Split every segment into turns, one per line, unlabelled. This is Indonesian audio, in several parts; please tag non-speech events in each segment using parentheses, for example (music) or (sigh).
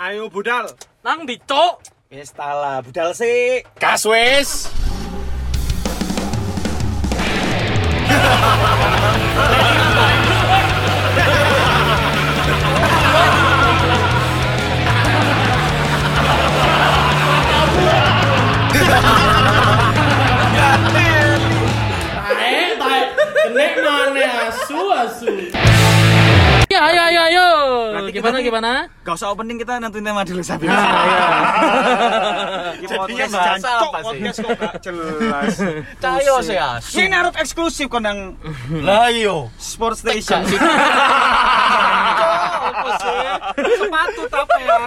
Ayo budal.
Nang ndi, Cuk?
Wis tala, budal sik.
Gas wis.
Eh, tai. Kenek mana asu asu.
Ya, ayo ayo ayo.
Berarti kita
gimana
nih-
gimana?
Gak usah opening kita nentuin tema dulu sapi.
Iya.
Jadinya
podcast
bahas
jancok,
apa sih?
podcast
kok gak jelas.
Cayo sih asu. Ini arep eksklusif kondang
Lah iya. iyo.
Sport Station.
Apa sih? ya? Sepatu tapean.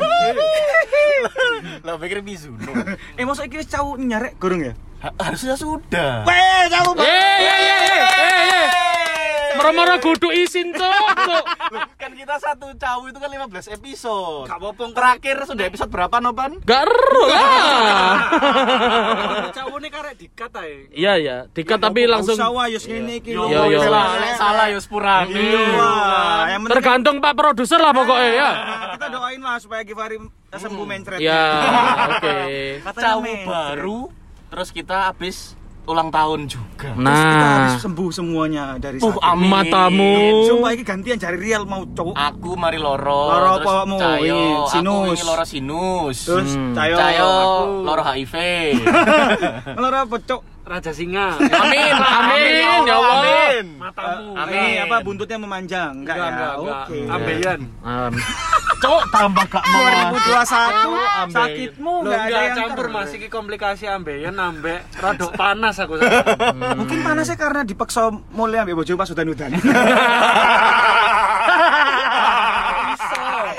Lah pikir Mizuno.
Eh maksudnya kita cau nyarek gorong ya?
Ha- Harusnya sudah.
Weh, cau
Eh, eh, eh, eh, eh, eh. Meromoro kudu isin, Cuk. Cuk.
Loh, kan kita satu cawu itu kan 15 episode.
Gak apa-apa,
Terakhir sudah episode berapa Nopan?
Gak ero lah.
Ah.
Cawone karek dikat ae.
Iya, iya. Dikat tapi langsung
Usaha yus ngene iki.
Iya, iya.
Salah yo sepurane.
Wah, yang penting
tergantung Pak produser lah pokoknya ya.
kita doain lah supaya Givari sembuh mencret.
Ya, oke.
Katanya
Cawu
mencret.
baru terus kita habis ulang tahun juga.
Terus kita harus
Nah,
sembuh semuanya dari
Uh,
sakit.
amin.
matamu.
Sumpah ini gantian cari real mau cowok.
Aku mari loro,
Loro
terus
apa mu?
Cayo,
Ini,
aku
sinus.
ini loro sinus.
Terus cayo.
Cayo,
aku.
loro (laughs) HIV.
Loro apa cok?
Raja Singa.
amin,
Amin, ya Allah.
Matamu.
Eh,
Amin.
apa buntutnya memanjang? Enggak,
Enggak, enggak,
ya.
enggak.
Oke.
Ambeien.
Am-
Cok tambah gak mau.
2021 sakitmu
Loh,
enggak ada
enggak
yang
campur
ter-
Mas iki komplikasi ambeien ambek rodok panas aku. (laughs)
Mungkin panasnya karena dipaksa mulai ambil bojo pas udan-udan.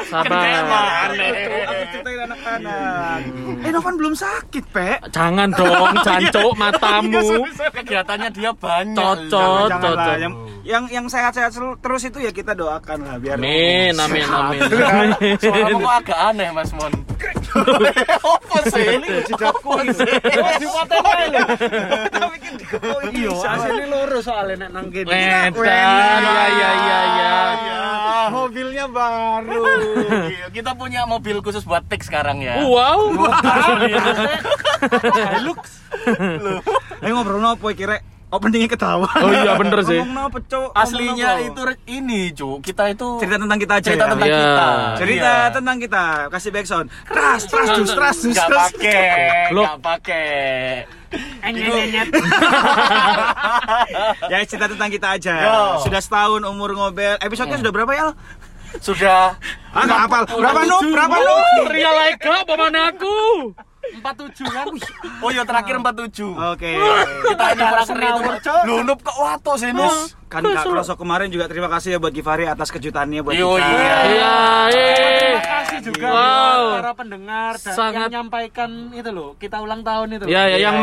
Sabar.
Aku ceritain anak-anak. Eh, Novan belum sakit, Pek.
Jangan dong, jancuk matamu.
Kegiatannya dia banyak.
Cocot,
Janganlah
cocot.
yang yang yang sehat-sehat sel- terus itu ya kita doakan lah biar
Amin, amin, amin.
Suaramu kok agak aneh Mas Mon. Apa sih ini?
Iya,
Asine loro soalnya nek nang kene.
Wedan,
Iya,
ya ya ya ya.
mobilnya baru.
Iya, Kita punya mobil khusus buat tik sekarang ya. Eh,
Wow. eh,
Ayo ngobrol nopo iki rek? Openingnya ketawa.
Oh iya, bener sih.
Ngomong nopo, Cuk?
Aslinya
Ngomong
itu
nopo?
re- ini, Cuk. Kita itu
cerita tentang kita aja.
cerita
ya?
tentang
Iya.
kita.
cerita
Iya.
tentang kita. Kasih backsound. Ras, ras, dus, ras, dus,
Gak
ras.
pakai,
Goblok.
gak pakai.
Ya cerita tentang kita aja.
Yo. Iya.
Sudah setahun umur ngobel. Episodenya sudah berapa ya? Al?
Sudah
Ah, nggak hafal. Berapa nu? Berapa nu?
Ria Laika, paman aku.
47 kan? Oh iya terakhir 47.
Oke.
Kita ini orang serius. Lu nup kok wato sih, Nus?
Kan Kak Kroso kemarin juga terima kasih ya buat Givari atas kejutannya buat
Yo,
kita.
iya.
Iya, eh.
Terima kasih juga
Wow.
buat para pendengar dan
Sangat-
yang menyampaikan itu loh, kita ulang tahun itu.
Ya ya
Iya,
yang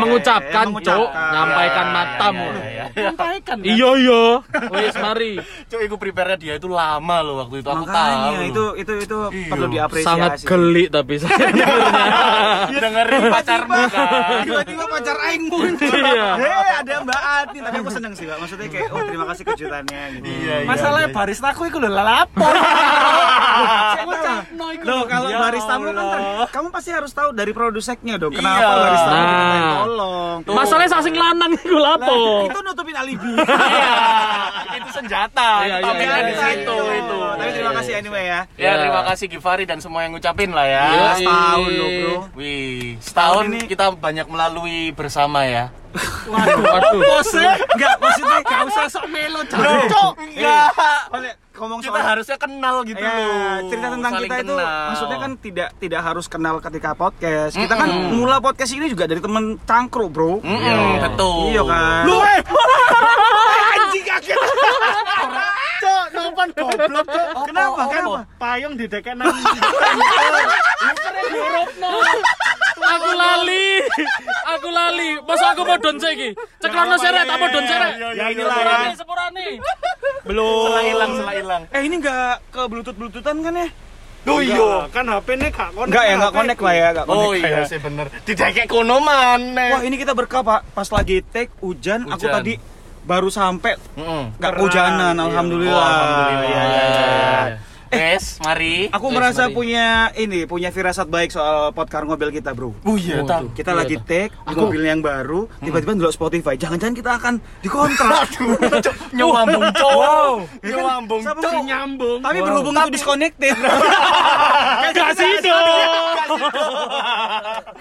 yang
mengucapkan, Cuk,
mengucapkan.
nyampaikan matamu.
Iya, iya, iya.
menyampaikan. kan?
Iya iya. Wis mari.
Cuk, iku prepare dia itu lama loh waktu itu aku tahu.
Makanya itu
(laughs)
itu itu
Iya.
perlu diapresiasi.
Sangat gelik tapi saya.
Ya,
dengerin pacarmu kan.
Tiba-tiba pacar aing muncul.
Iya.
Hei, ada Mbak Ati, tapi aku seneng sih, Mbak. Maksudnya kayak oh terima kasih kejutannya gitu.
Iya, iya.
Masalahnya barista aku itu lho (laughs) lapor. Saya ngucapno iku
Loh, kalau
Ya
baristamu kan ter-
Allah.
kamu pasti harus tahu dari produseknya dong.
Iya.
Kenapa baristamu
Nah.
dimintain tolong?
Tuh.
Masalahnya sasing lanang iku lapo.
Itu nutupin alibi. (laughs)
Iya, itu senjata.
Iya, iya,
Itu tampilan
iya,
di situ itu.
Tapi terima kasih anyway ya.
Ya,
Iya.
terima kasih Givari dan semua yang ngucapin lah ya.
Iya.
Setahun loh, Bro.
Wih, setahun
Setahun ini-
kita banyak melalui bersama ya.
Waduh, waduh.
Enggak, maksudnya enggak usah sok melo, cocok.
Enggak.
Oleh ngomong
Kita
soal
harusnya kenal gitu
Ya,
loh.
cerita tentang
Saling
kita itu
kenal.
maksudnya kan tidak tidak harus kenal ketika podcast. Kita kan mula podcast ini juga dari temen cangkruk, Bro.
Mm-mm, betul.
Iya kan. Lu eh, anjing kaget.
Cok, nopan goblok, Cok.
Oh,
Kenapa? Kenapa?
Payung di deket (laughs) nang.
Aku lali. Aku lali. Masa aku mau don saiki? Ceklano seret, tak mau don seret.
Ya inilah ya.
Sepurane, sepurane.
Belum.
Selah hilang, selah hilang.
Eh, ini enggak ke bluetooth-bluetoothan kan ya?
Duh iya.
Kan HP ini gak konek.
Enggak ya, enggak
HP.
connect lah ya, enggak connect.
Oh iya sih bener. Didekek kono maneh.
iya. Wah, ini kita berkah, Pak. Pas lagi take hujan, aku
Hujan.
tadi baru sampai
Mm-mm.
enggak kehujanan,
Iya.
alhamdulillah.
Oh, alhamdulillah.
Iya, iya, iya.
Wes, Mari.
Aku
Yes,
merasa
mari.
punya ini, punya firasat baik soal podcast ngobel kita, Bro.
Oh iya,
Waduh.
Tam.
Kita
Iya,
lagi
dah.
take di mobil Hmm. yang baru, tiba-tiba ngelok Spotify. Jangan-jangan kita akan dikontrak.
Nyewambung, cowok. Wow.
Ya kan?
Nyewambung,
Sama
cowok.
sih,
nyambung
Tapi berhubung itu (laughs) disconnected.
kasih dong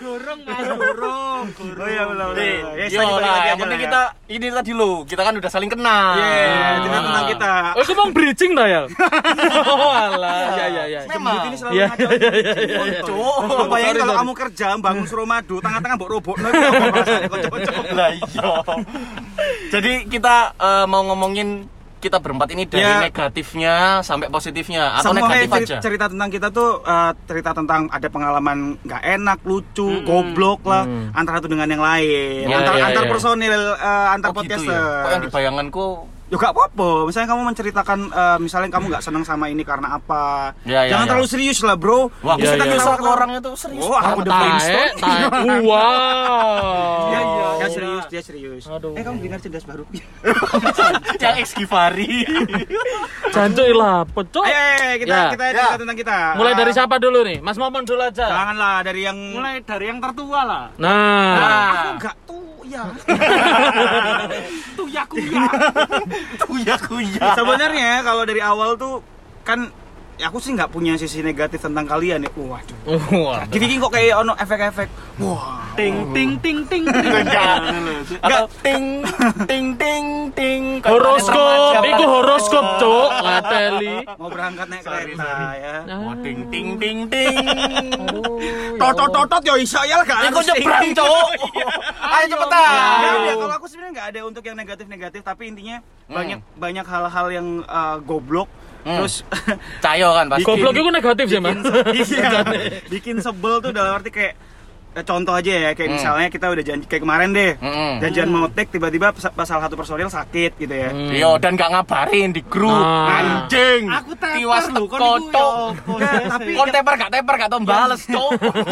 gorong
Burung. Oh iya, benar benar.
Nih,
Ya,
yo
kita balik
lah,
lagi
yang
aja lah
penting
ya.
kita ini tadi lo, kita kan udah saling kenal.
Yeah,
Nah.
cerita tentang kita.
Oh, aku mau bridging dah ya. Oh, alah.
Iya,
Iya,
Ya, ya, ya.
Ah. Memang.
Ini selalu
Iya,
ngacau.
iya, iya, iya, iya.
Cowok.
Lu bayangin
Sorry,
kalau
sorry.
kamu kerja bangun suruh madu, tangan-tangan mbok robok. Nah, itu apa rasanya, kocok-kocok.
Lah iya. Jadi kita eh, mau ngomongin kita berempat ini dari
Ya.
negatifnya sampai positifnya atau
Semua kayak
negatif aja.
cer- cerita tentang kita tuh eh, cerita tentang ada pengalaman nggak enak, lucu, goblok lah antara satu dengan yang lain,
Ya,
antar
ya,
antar
ya.
personil, eh, antar
Oh, gitu
podcaster.
ya. Kok yang di bayanganku
Ya nggak apa-apa. Misalnya kamu menceritakan, eh, misalnya kamu nggak senang sama ini karena apa?
Ya, ya,
Jangan
ya.
terlalu serius lah, bro.
Wah, aku
Iya,
suka
iya.
nyesel ke orangnya tuh serius.
Wah,
banget.
aku udah
Tae, tae. (laughs) Wow.
Iya, iya. Dia serius, dia serius.
Oh.
Eh, kamu dengar cerdas baru?
(laughs) yang ex Givari.
Jancuk lah, pecok.
Ayo, ayo, ayo, kita
Ya.
kita cerita
Ya.
tentang kita.
Mulai dari
Ah,
siapa dulu nih? Mas Momon dulu aja.
Janganlah dari yang Ah.
mulai dari yang tertua lah
Nah,
Aku nggak tuh ya.
tuh ya kuya
Tuh ya kuya.
(laughs) Sebenarnya kalau dari awal tuh kan ya aku sih nggak punya sisi negatif tentang kalian ya. Waduh.
Wah.
Jadi kok kayak ono efek-efek. Wah.
ting ting ting ting
(laughs)
ting.
Atau ting ting ting ting. Kayak
horoskop,
remaja,
itu
kan?
horoskop, Cuk. Ngateli.
Mau berangkat naik kereta ya.
Oh, ting ting ting ting.
Totot-totot ya iso ya gak
Ini kok
harus
nyebrang,
sih.
cowok. Iya. Ayo
Ya,
cepetan.
ya, kalau aku sebenarnya nggak ada untuk yang negatif-negatif tapi intinya banyak banyak hal-hal yang eh, goblok
Hmm.
terus (laughs)
Cayo kan pasti.
Goblok itu negatif sih, Mas.
Iya. bikin sebel tuh dalam arti kayak eh, contoh aja ya kayak misalnya kita udah janji kayak kemarin deh
Mm-mm.
janjian mau take tiba-tiba pes- pas salah satu personil sakit gitu ya
Yo Iya, dan gak ngabarin di grup.
Ah.
Anjing.
aku teper
tiwas
lu kan
teko,
iku,
cok.
ya opo,
Nah,
sih.
tapi
Kon teper gak teper gak tau bales,
(laughs)
cok.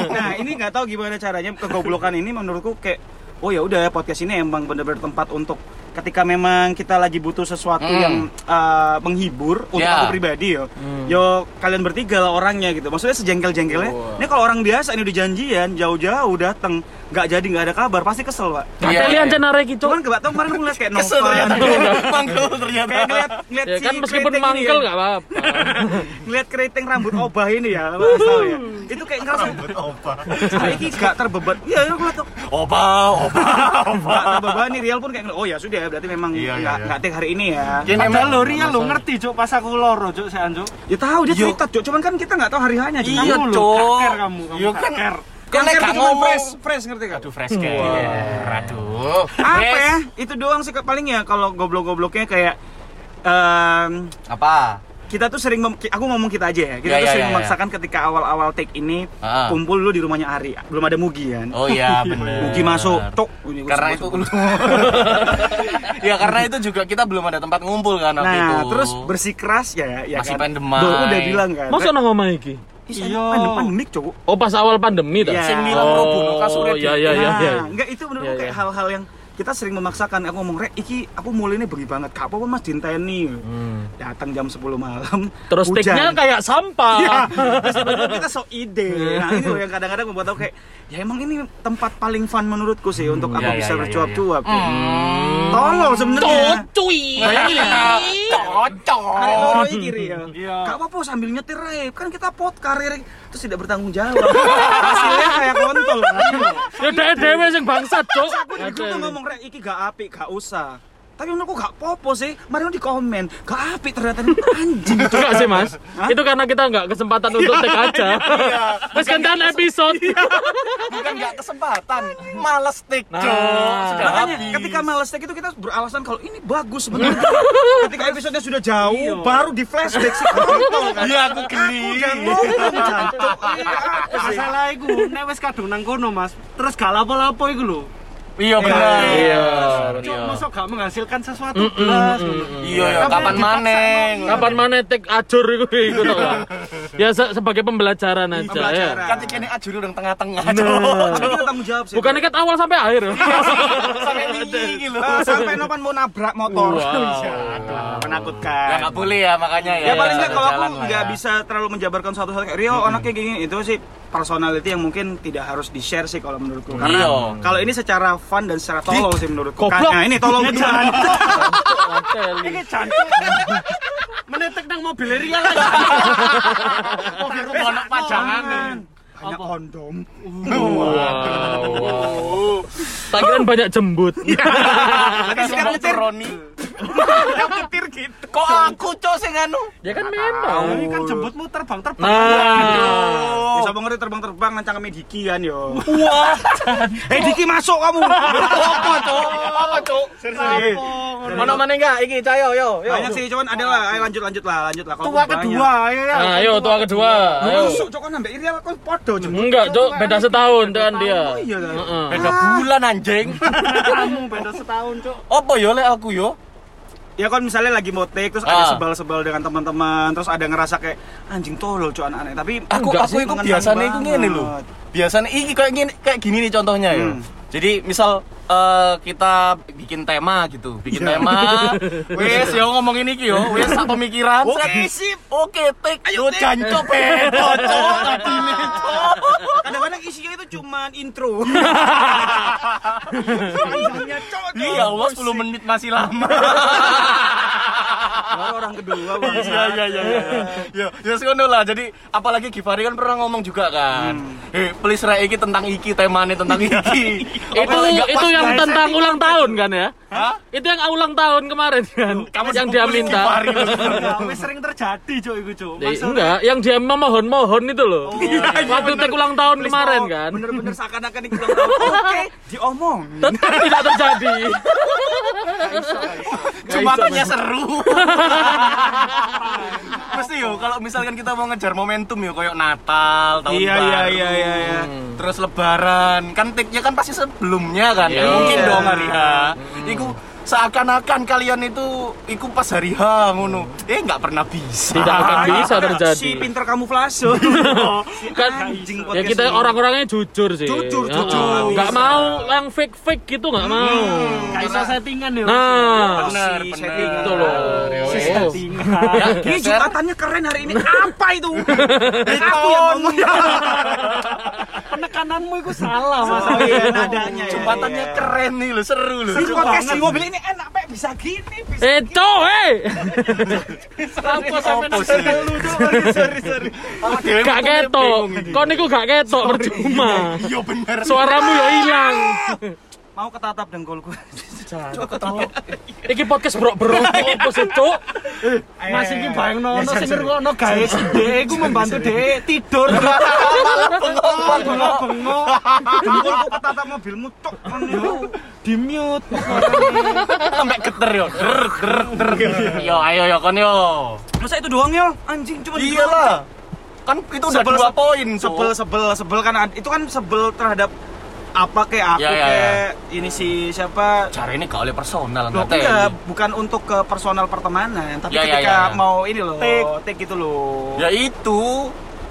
nah ini nggak tahu gimana caranya kegoblokan ini menurutku kayak oh ya udah podcast ini emang bener-bener tempat untuk ketika memang kita lagi butuh sesuatu
Hmm.
yang eh, menghibur untuk
Ya.
aku pribadi yo yo kalian bertiga lah orangnya gitu maksudnya sejengkel-jengkelnya ini kalau orang biasa ini udah janjian jauh-jauh datang nggak jadi nggak ada kabar pasti kesel pak
Ngateli
Iya, iya.
aja narek itu.
cuman gak tau kemarin aku ngeliat kayak
Kesel ternyata. (laughs)
Novan
Manggil ternyata.
kayak ngeliat ngeliat
Ya
si
kan meskipun
keriting ini
mangkel
ya.
enggak apa-apa.
ngeliat keriting rambut obah ini ya, apa asal ya. itu kayak ngerasa
Opa.
"Ah, ini gak terbeban iya aku ngeliat tuh
Opa, opa, opa.
gak terbebani real pun kayak oh ya sudah berarti memang
Iya,
nggak
iya, iya.
nggak take hari ini ya
Ya,
Padahal
memang-
lo Ria lo ngerti cok pas aku loro cok saya cok
ya tahu dia
Yo.
cerita Cuk. cuman kan kita nggak tahu hari hanya Cuk.
Iya,
Kamu
lo,
cok.
kaker kamu, kamu
Iya, kan.
kaker.
Kan
kanker
gak
tuh cuman
ngomong.
fresh fresh ngerti gak
Aduh, fresh kayak. Aduh.
apa
Fresh.
ya itu doang sih Kak, paling ya kalau goblok-gobloknya kayak ehm, em,
Apa?
kita tuh sering mem- ki- aku ngomong kita aja ya kita
Ya,
tuh
ya,
sering
ya, ya.
memaksakan ketika awal-awal take ini
Ah.
kumpul dulu di rumahnya Ari belum ada Mugi kan
Oh
(laughs)
iya bener.
Mugi
(laughs)
masuk tok Ini gua
Karena itu
sebut-sebut.
Ya karena itu juga kita belum ada tempat ngumpul kan waktu itu.
nah terus bersikeras ya ya
Masih
kan
pandemai.
Duh, udah bilang kan
Masa nang omah iki?
iya pandem pandemik cowok
Oh, pas awal pandemi ta?
Iya.
sing bilang
Oh,
robono kasure
iya, iya, iya.
Nah, enggak itu menurutku
Iya,
kayak
iya.
hal-hal yang kita sering memaksakan aku ngomong rek iki aku mulai ini bengi banget gak apa-apa mas dinteni
Hmm.
datang jam 10 malam
Terus
hujan. Iya.
tiknya kayak sampah.
Terus tiba-tiba Nah, kita sok ide nah ini loh yang kadang-kadang membuat aku kayak ya emang ini tempat paling fun menurutku sih untuk aku
Iya, iya,
bisa
iya, iya,
bercuap-cuap tolong sebenarnya
Cuy.
Arek
Cocok.
loro iki kiri ya.
Iya.
Gak apa-apa sambil nyetir Rip. Kan kita pot karir terus tidak bertanggung jawab. Hasilnya kayak kontol. kan?
Ya dhewe dhewe sing bangsat, Cuk.
Aku tuh ngomong rek iki gak apik, gak usah. Tapi menurutku gak popo sih. Mari di komen, gak apik ternyata ini anjing.
Itu enggak sih, Mas? Itu karena kita enggak
Iya.
kesempatan untuk tek aja. Mas kentan episode.
Bukan nggak kesempatan, males tik.
Nah.
Cok. Sudah
Makanya
habis.
ketika males take itu kita beralasan kalau ini bagus sebenarnya. (laughs) ketika episodenya sudah jauh, baru di flashback (laughs) sih kontol kan.
Iya aku geli.
Aku jangan ngomong, jantung.
masalah iku nek wis kadung nang kono mas terus gak lapo-lapo iku lho
Iya benar. Iya.
ya.
Cuk,
iya.
mosok gak menghasilkan sesuatu blas.
Iya, iya, kapan maneng?
Kapan mana tek ajur itu itu tau gak? Ya se- sebagai pembelajaran aja
Iya.
ya.
Pembelajaran.
Kan ini ajur udah ah, tengah-tengah. Cuk.
Tapi Oh, kita tanggung jawab sih.
Bukan
(laughs)
ikat awal sampai akhir.
Iya.
Sampai gitu tinggi iki lho.
Eh, sampai Nopan mau nabrak motor. (laughs) Iya,
Ya
Menakutkan.
nggak boleh ya makanya ya.
Ya paling nggak kalau aku
jalan lah
nggak
ya.
bisa terlalu menjabarkan suatu hal kayak Rio anaknya kayak gini itu sih personality yang mungkin tidak harus di share sih kalau menurutku. Karena
Iya.
kalau ini secara fun dan secara tolol sih menurutku.
Goblok.
Karena ini
(laughs)
tolol beneran.
Ini cantik. Menetek nang mobil ya, Ria lagi. Oh, kira anak pajangan.
Banyak kondom.
Wow. Tak kirain banyak jembut.
Iya.
Lagi sih
Sekarang nyetir.
Roni. Yang nyetir gitu. Kok aku cok sing anu?
Ya kan memang.
Ini kan jembutmu terbang-terbang.
Nah.
Oh.
Ya sapa ngerti terbang-terbang nang cangkeme Diki kan yo.
(laughs)
Wah. Eh Diki masuk kamu.
Apa cok? Apa cok?
Eh,
Mana mana enggak iki cayo yo yo.
Banyak sih cuman ada lah. Ayo lanjut lanjut lah lanjut lah. Kalau
Tua
banyak.
kedua ya. ya.
Nah, ayo tua kedua. Ayo.
Masuk cok kan ambek Irial kok podo Cok.
Enggak, Cok, beda setahun dengan dia.
Oh iya
ya.
lah.
Heeh.
Beda bulan anjing.
Kamu beda setahun, Cuk.
Apa yo lek aku yo?
Ya kan misalnya lagi mau take terus ada
Ah.
sebal-sebal dengan teman-teman, terus ada ngerasa kayak anjing tolol cuy anak-anak. Tapi
aku
Enggak
aku
sih,
itu
mengenang
Ah, biasanya itu
banget.
ngene lho. Biasanya iki kayak gini kayak gini nih contohnya ya.
Hmm.
Jadi misal eh, kita bikin tema gitu, bikin tema. Wes yo ngomongin iki yo, wes sak pemikiran.
Oke,
sip. Oke, tek. Yo jancok beto, cok. Adine, cok.
(laughs) kadang-kadang isinya itu cuman
(laughs)
intro. Anjingnya cowok.
Iya, Allah 10 menit masih lama.
Baru orang kedua bang.
Iya iya iya. Ya ya sekono lah. Jadi apalagi Givari kan pernah ngomong juga kan. Eh, please rek iki tentang iki temane tentang iki.
Itu itu yang tentang ulang tahun kan ya?
Hah?
Itu yang ulang tahun kemarin kan?
kamu
yang dia
sepupu
minta.
Givari lu.
Ya, wis sering terjadi, Cuk, iku, Cuk.
Eh, enggak, yang dia memohon-mohon itu
Oh,
loh.
iya,
Waktu tek ulang tahun kemarin kan.
Bener-bener seakan-akan ini ulang tahun. Oke, diomong.
Tetap tidak
(laughs)
terjadi.
Cuma kan ya seru. Pasti yo kalau misalkan kita mau ngejar momentum yo koyok Natal, tahun
Iya, iya,
baru.
iya, iya, iya.
Terus lebaran. Kan take-nya kan pasti sebelumnya kan.
Iya.
Mungkin
Iya.
dong hari H. Iku seakan-akan kalian itu iku pas hari H ngono. Eh nggak pernah bisa.
Tidak akan bisa
Ada
terjadi.
Si pinter
(laughs)
kamuflase. Si
Kan,
anjing
Ya
podcast
kita
ini.
orang-orangnya jujur sih.
Jujur,
Heeh.
jujur. Hmm.
Nggak mau yang fake-fake gitu nggak mau.
Gak bisa settingan ya.
Nah,
Bener,
Si
bener.
setting.
itu loh. Iya. Eh,
Si settingan.
Ya,
Ini
geser.
jumatannya keren hari ini. Apa itu? Aku yang (laughs) ngomong.
Penekananmu itu salah, Mas.
Oh iya, nadanya. ya,
Jumpatannya
iya.
keren nih lo, seru lo.
Ini podcast di mobil ini enak, Pak. Bisa gini, bisa
Eh, Cok,
(laughs)
eh.
Apa sampe nang dulu Sorry, sorry.
Gak ketok. Kau niku gak ketok percuma.
Iya bener.
Suaramu ya hilang.
Mau ketatap dengkulku.
Iki podcast brok-brok apa sih, Cuk?
Mas iki bayangno ono sing ngrungokno gawe si Dek iku membantu Dek tidur. Bengok-bengok
Dengkulku ketatap mobilmu cok.
di mute.
sampe geter yo. Der der der. Yo ayo yo kon yo.
Masa itu doang ya? Anjing cuma itu doang.
Iyalah. Kan itu udah
Sebel-
dua poin. Cuk.
Sebel sebel sebel kan ad- itu kan sebel terhadap apa kayak aku
Ya, ya,
kayak ini si siapa
Cara ini gak oleh personal
Loh,
nggak teli.
enggak, bukan untuk ke personal pertemanan, tapi
Ya, ya,
ketika
ya, ya.
mau ini loh,
Take.
take gitu loh.
Ya itu.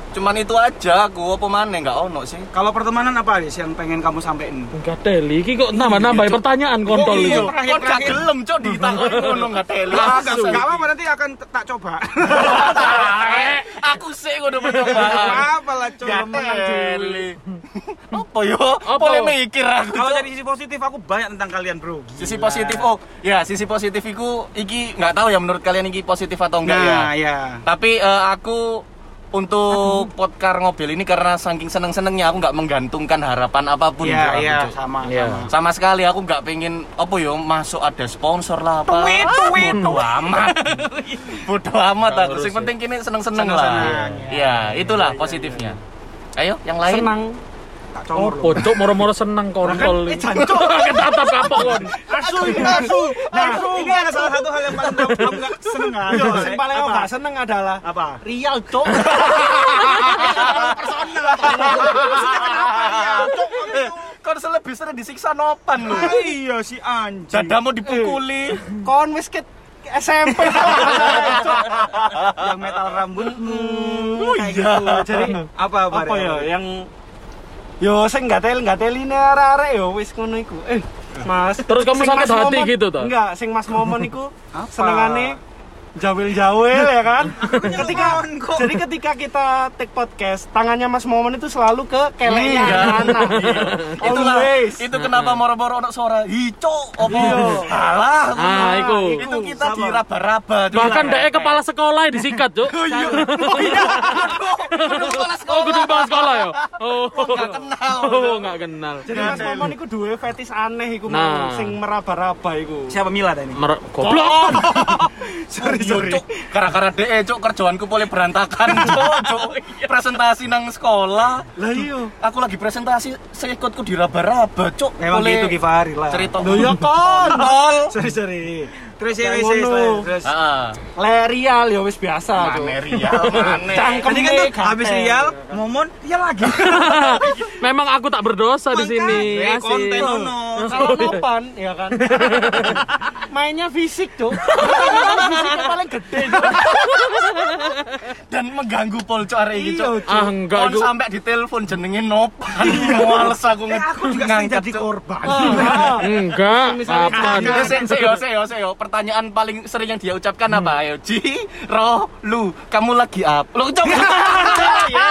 Cuman itu aja aku apa maneh nggak ono sih.
Kalau pertemanan apa Aris yang pengen kamu sampein?
Enggak teli, iki kok nambah-nambah pertanyaan kontol
iya.
itu.
terakhir,
Kon gak
terakhir.
gelem cok (laughs) ditakoni ngono gak teli.
Enggak enggak apa-apa nanti akan t- tak
(laughs)
coba.
Eh, (laughs) Aku sih udah percobaan.
apa lah coba.
Gak teli. (laughs) Apa yo?
Apa?
Boleh mikir aku.
Kalau
Cuk.
dari sisi positif aku banyak tentang kalian, Bro.
sisi
Gila.
positif oh ya sisi positif iku iki nggak tahu ya menurut kalian iki positif atau enggak
Nah,
ya
ya.
tapi eh, aku untuk podcar ngobel ini karena saking seneng senengnya aku nggak menggantungkan harapan apapun
Iya,
buat aku,
iya,
Cuk.
sama,
Iya.
sama.
sama sekali aku nggak pengen apa yo masuk ada sponsor lah apa
Tweet,
Ah,
tweet,
bodoh
(laughs)
amat bodoh amat aku
harus
sing
ya.
penting kini seneng seneng lah
iya. Seneng-seneng, iya.
ya itulah positifnya ayo yang lain
Senang.
Tak
Oh,
comor loh.
cok moro-moro seneng kontol. Eh, (laughs) jancuk. Ketatap kapok kon.
Asu, ini asu. Nah, ini ada salah satu hal yang paling kamu kamu nggak seneng aja.
Yo, sing paling aku gak seneng adalah
apa?
Rial, Cuk.
Personal. Maksudnya kenapa ya? Cok, kamu itu
konsol lebih sering disiksa nopan lu.
Ah, iya si anjing. Eh.
Dadamu dipukuli.
kon wis ke ke SMP
Iya. yang metal rambutmu.
Oh iya.
Jadi apa apa?
gitu. apa ya
Yang
yo sing nggak tel nggak teline arek yo wis ngono iku eh Mas,
Terus kamu
sing
sakit
Mas
hati
Momon-
gitu, toh?
Enggak, sing Mas Momon iku
Apa?
senengane jawil-jawil ya kan? ketika
Momon kok.
jadi ketika kita take podcast, tangannya Mas Momon itu selalu ke kelenya
Iya.
anak.
Iya.
Itulah,
Always.
itu kenapa moro-moro ono suara hijau opo. Alah, aku
Ah, iku.
itu kita diraba-raba tuh.
Bahkan dek kepala sekolah disikat, Cuk.
Iya. Oh iya. Oh
(laughs)
iya. Aduh, aduh, kepala
Oh,
sekolah.
kudu kepala sekolah ya. Oh.
Nggak kenal.
(laughs) Oh, enggak kenal.
Jadi Mas
Iya,
Momon iku duwe fetis aneh iku
Nah.
mau sing meraba-raba iku.
siapa Mila tadi?
Mer- Goblok.
Sorry, sorry. Gara-gara DE, Cuk, kerjaanku boleh berantakan, Cuk. Cuk. Presentasi nang sekolah.
Lah iya.
Aku lagi presentasi, seikutku diraba-raba, Cuk.
Memang
Boleh
gitu Givari lah.
Cerita.
Lho
(laughs)
ya kon.
Sorry sorry. Terus ya
Yang
wis wis,
ngono.
terus.
Heeh.
Lerial ya wis biasa tuh.
Aneh, Rial, aneh.
Cangkem
Tadi kan tuh
Iya,
gatel.
habis Rial, Momon, ya lagi.
Memang aku tak berdosa di sini.
Makanya, Eh,
Asik.
Eh,
Hmm,
konten ono.
kalau nopan ya
(laughs)
kan mainnya fisik tuh fisiknya paling gede
Dan mengganggu polco
Iya,
hari ini, Cuk.
Ah, enggak,
Kon
Cuk.
sampai ditelepon jenenge (laughs) nopan. Males aku
Eh,
nge-
aku juga sering
ngangkat,
jadi
Cuk.
korban.
Enggak. Kapan?
Ayo, se- se- yo, se- yo, se- yo. Pertanyaan paling sering yang dia ucapkan
Hmm.
apa? Ayo, Ji, Ro, Lu, kamu lagi apa? Lu,
(laughs)
Cuk.
Iya.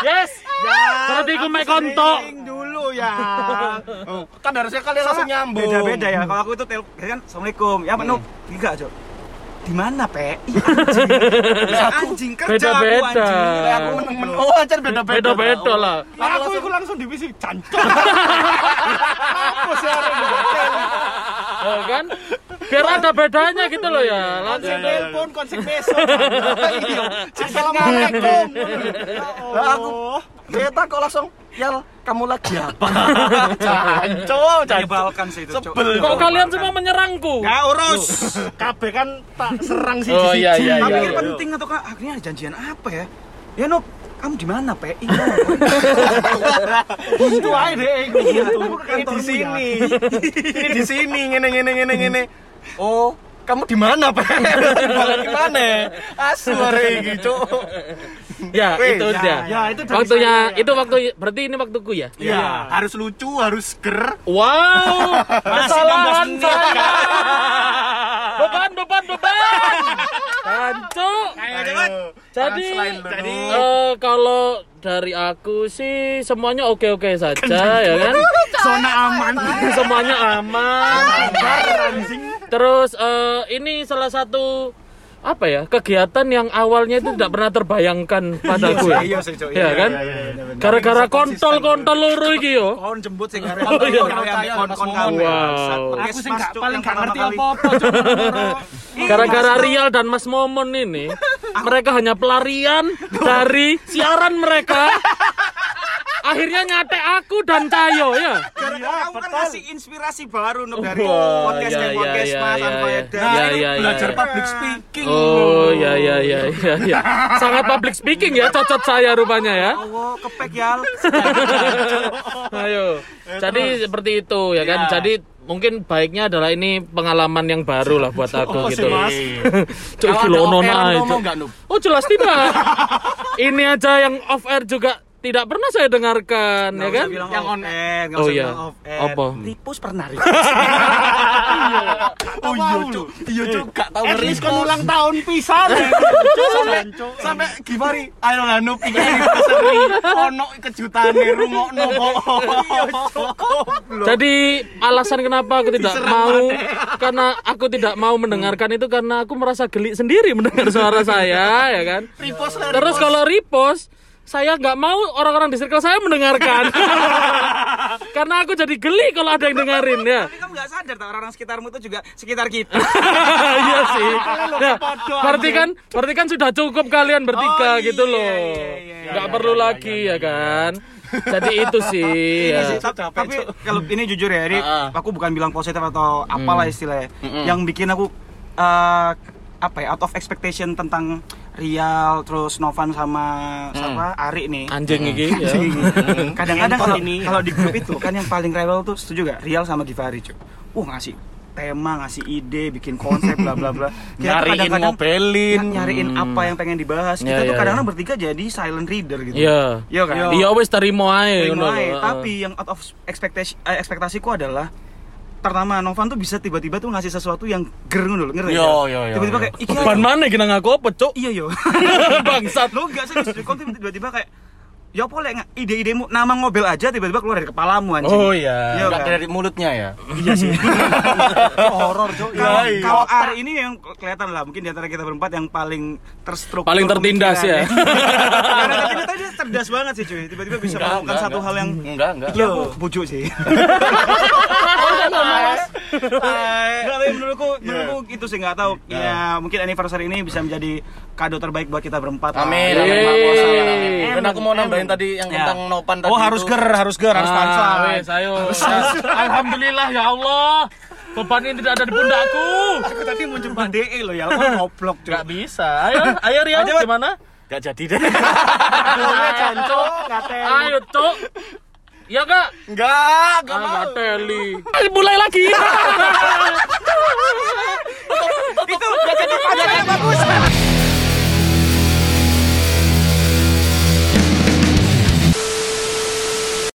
Yes. Berarti aku mek kontok.
Sering dulu ya.
Oh, Kan harusnya kalian langsung nyambung.
Beda-beda ya. Kalau aku itu telepon kan Assalamualaikum. Ya penuh. Enggak, Cok. Di mana, Pe? Ih, anjing. Lah, Anjing kerja
Beda-beda.
aku anjing. Lah, aku
Men- men- Oh, ajar beda-beda.
Beda-beda lah.
Lah, aku itu langsung di
Iya,
fisik jancok
Oh, kan? Biar ada bedanya gitu loh ya. Langsung
iya,
konsep telepon konsep besok assalamualaikum
Iya.
Lah, aku cetak kok langsung, "Yal, kamu lagi
(laughs)
apa?" Canco, canco.
menyebalkan sih itu, Cok.
Sebel.
Kok kalian semua menyerangku?
Nggak urus.
kabeh kan tak serang sih
Oh iya iya
Tapi
iya.
kan
iya.
penting atau kan akhirnya ada janjian apa ya? Ya, Nop, kamu di mana, Pe? Ih,
itu aja deh iku.
Ini di sini. ya. Ini di sini, ngene ngene ngene ngene. Oh, kamu (laughs) di mana, Pak? Balik ke mana? Asu hari ini, Cuk.
Ya,
Weh,
itu
ya,
dia.
ya, itu dari
Waktunya
saya, ya.
itu waktu berarti ini waktuku ya.
Ya, harus lucu, harus ger.
Wow, kesalahan saya. Beban, beban, beban. Tancu.
Ayo.
Jadi,
Selain lu,
jadi
Nuk.
eh, kalau dari aku sih semuanya oke-oke saja ya kan.
zona aman.
Iya, semuanya aman. Terus eh, ini salah satu apa ya kegiatan yang awalnya itu tidak pernah terbayangkan padaku ya.
Iya sih, Cok.
Ya kan? Gara-gara kontol-kontol loro iki yo.
Kon jembut sing arek.
Oh, iya.
Kon-kon kawe.
Wow.
aku sih nggak
Cuk,
paling
yang
nggak
pertama
ngerti
kali.
apa-apa
(laughs)
Cuk.
Iya,
Gara-gara Rial dan Mas Momon ini, mereka hanya pelarian dari siaran mereka. Akhirnya nyate aku dan Cayo ya.
Gara-gara kamu kan ngasih inspirasi baru Nuk, dari
Wah,
podcast
iya,
dan
iya,
podcast
iya,
Mas
iya,
Anfaedah.
iya.
Nah,
Iya,
ini
iya, iya.
Belajar public speaking.
Oh ya ya ya ya ya. Sangat public speaking ya cocot saya rupanya ya.
Allah kepek ya.
(laughs) Ayo. Jadi seperti itu ya
Iya.
kan. Jadi mungkin baiknya adalah ini pengalaman yang baru lah
(laughs)
buat aku gitu. (laughs) Cuk,
Oh, Kalau
iki
ada
lho,
off air
nona,
ngomong
Cuk.
nggak, (laughs) Nuk?
Oh jelas tidak. (laughs) ini aja yang off air juga tidak pernah saya dengarkan ya kan.
yang on air, nggak
Oh,
usah
iya.
bilang off air.
Apa?
Tipus pernah. Rik.
Oh iya, Cuk. Iya, Cuk. Gak tahu
at least kon ulang tahun
(laughs)
pisan
sampai sampai Givari ayo lah nup iki seri ono kejutane rungokno Iya, kok
Jadi alasan kenapa aku tidak mau karena aku tidak mau mendengarkan itu karena aku merasa geli sendiri mendengar suara saya ya kan.
repost lah
Terus kalau repost, saya nggak mau orang-orang di circle saya mendengarkan. Karena aku jadi geli kalau ada yang dengerin ya.
Tapi kamu nggak sadar tau orang-orang sekitarmu itu juga sekitar kita.
(laughs)
iya sih. Ya, berarti kan berarti kan sudah cukup kalian bertiga gitu loh. Nggak perlu lagi ya kan. Jadi itu sih. ya.
Iya,
Tapi- tapi kalau ini jujur ya, ini
Ah, ah. Hmm.
aku bukan bilang positif atau apalah istilahnya. Yang bikin aku eh, apa ya out of expectation tentang Rial terus Novan sama siapa
Hmm.
Ari nih
Anjing iki
Iya.
ya.
kadang-kadang
Ngentot
kalau
ini.
kalau di grup itu kan yang paling rewel tuh setuju gak Rial sama Givari cuy uh ngasih tema ngasih ide bikin konsep bla bla
(laughs)
bla Kita tuh
nyariin ngopelin
ny- nyariin apa yang pengen dibahas
Hmm.
kita
Iya, iya,
tuh kadang-kadang bertiga jadi silent reader gitu
Iya.
Iya kan
Iya wis terima ae
Terima
ngono
aja.
lho.
tapi yang out of ekspektasi eh, ekspektasiku adalah pertama Novan tuh bisa tiba-tiba tuh ngasih sesuatu yang ger ngono lho,
Iya,
ngerti
Yo,
nggak?
yo, yo,
tiba-tiba
yo.
kayak iki
Ban mana kita ngaku apa,
(laughs)
Cuk?
iya
(laughs)
yo
Bangsat.
lo enggak sih Joko tiba-tiba kayak ya apa lek nggak, ide-idemu nama ngobel aja tiba-tiba keluar dari kepalamu anjing
oh iya
Iya,
nggak
kan? (laughs)
dari mulutnya ya
horor cok
Kalau-
Iya, iya.
kalau Ari ini yang kelihatan lah mungkin di antara kita berempat yang paling terstruktur
Paling tertindas ya.
pemikirannya. (laughs) Karena tertindas tadi cerdas banget sih cuy, tiba-tiba bisa
Enggak,
melakukan
enggak,
satu
enggak.
hal yang
enggak enggak
Iya, aku bujuk
(laughs)
sih.
Iya.
Enggak, tapi menurutku,
Iya.
menurutku itu sih nggak tahu. Ya, mungkin anniversary ini bisa menjadi kado terbaik buat kita berempat. lah.
Amin,
Ya,
amin,
Yeay.
Pak Bos, amin, Iya.
Amin.
amin. Dan Kan aku mau nambahin tadi yang
Ya.
tentang nopan tadi
Oh harus
itu.
ger, harus ger, harus
Ah,
pancal.
wes, ayo. Alhamdulillah ya Allah. Beban ini tidak ada di pundakku.
Aku tadi mau jumpa DE lo ya, aku ngoblok cuy.
Gak bisa. Ayo, ayo Rian,
Ayo, Mat.
gimana?
Gak jadi deh (laughs)
Ayo, Cuk. Ya kak,
Enggak, enggak
ah, teli. Ayo mulai (laughs) lagi.
Itu gak jadi pancal yang bagus.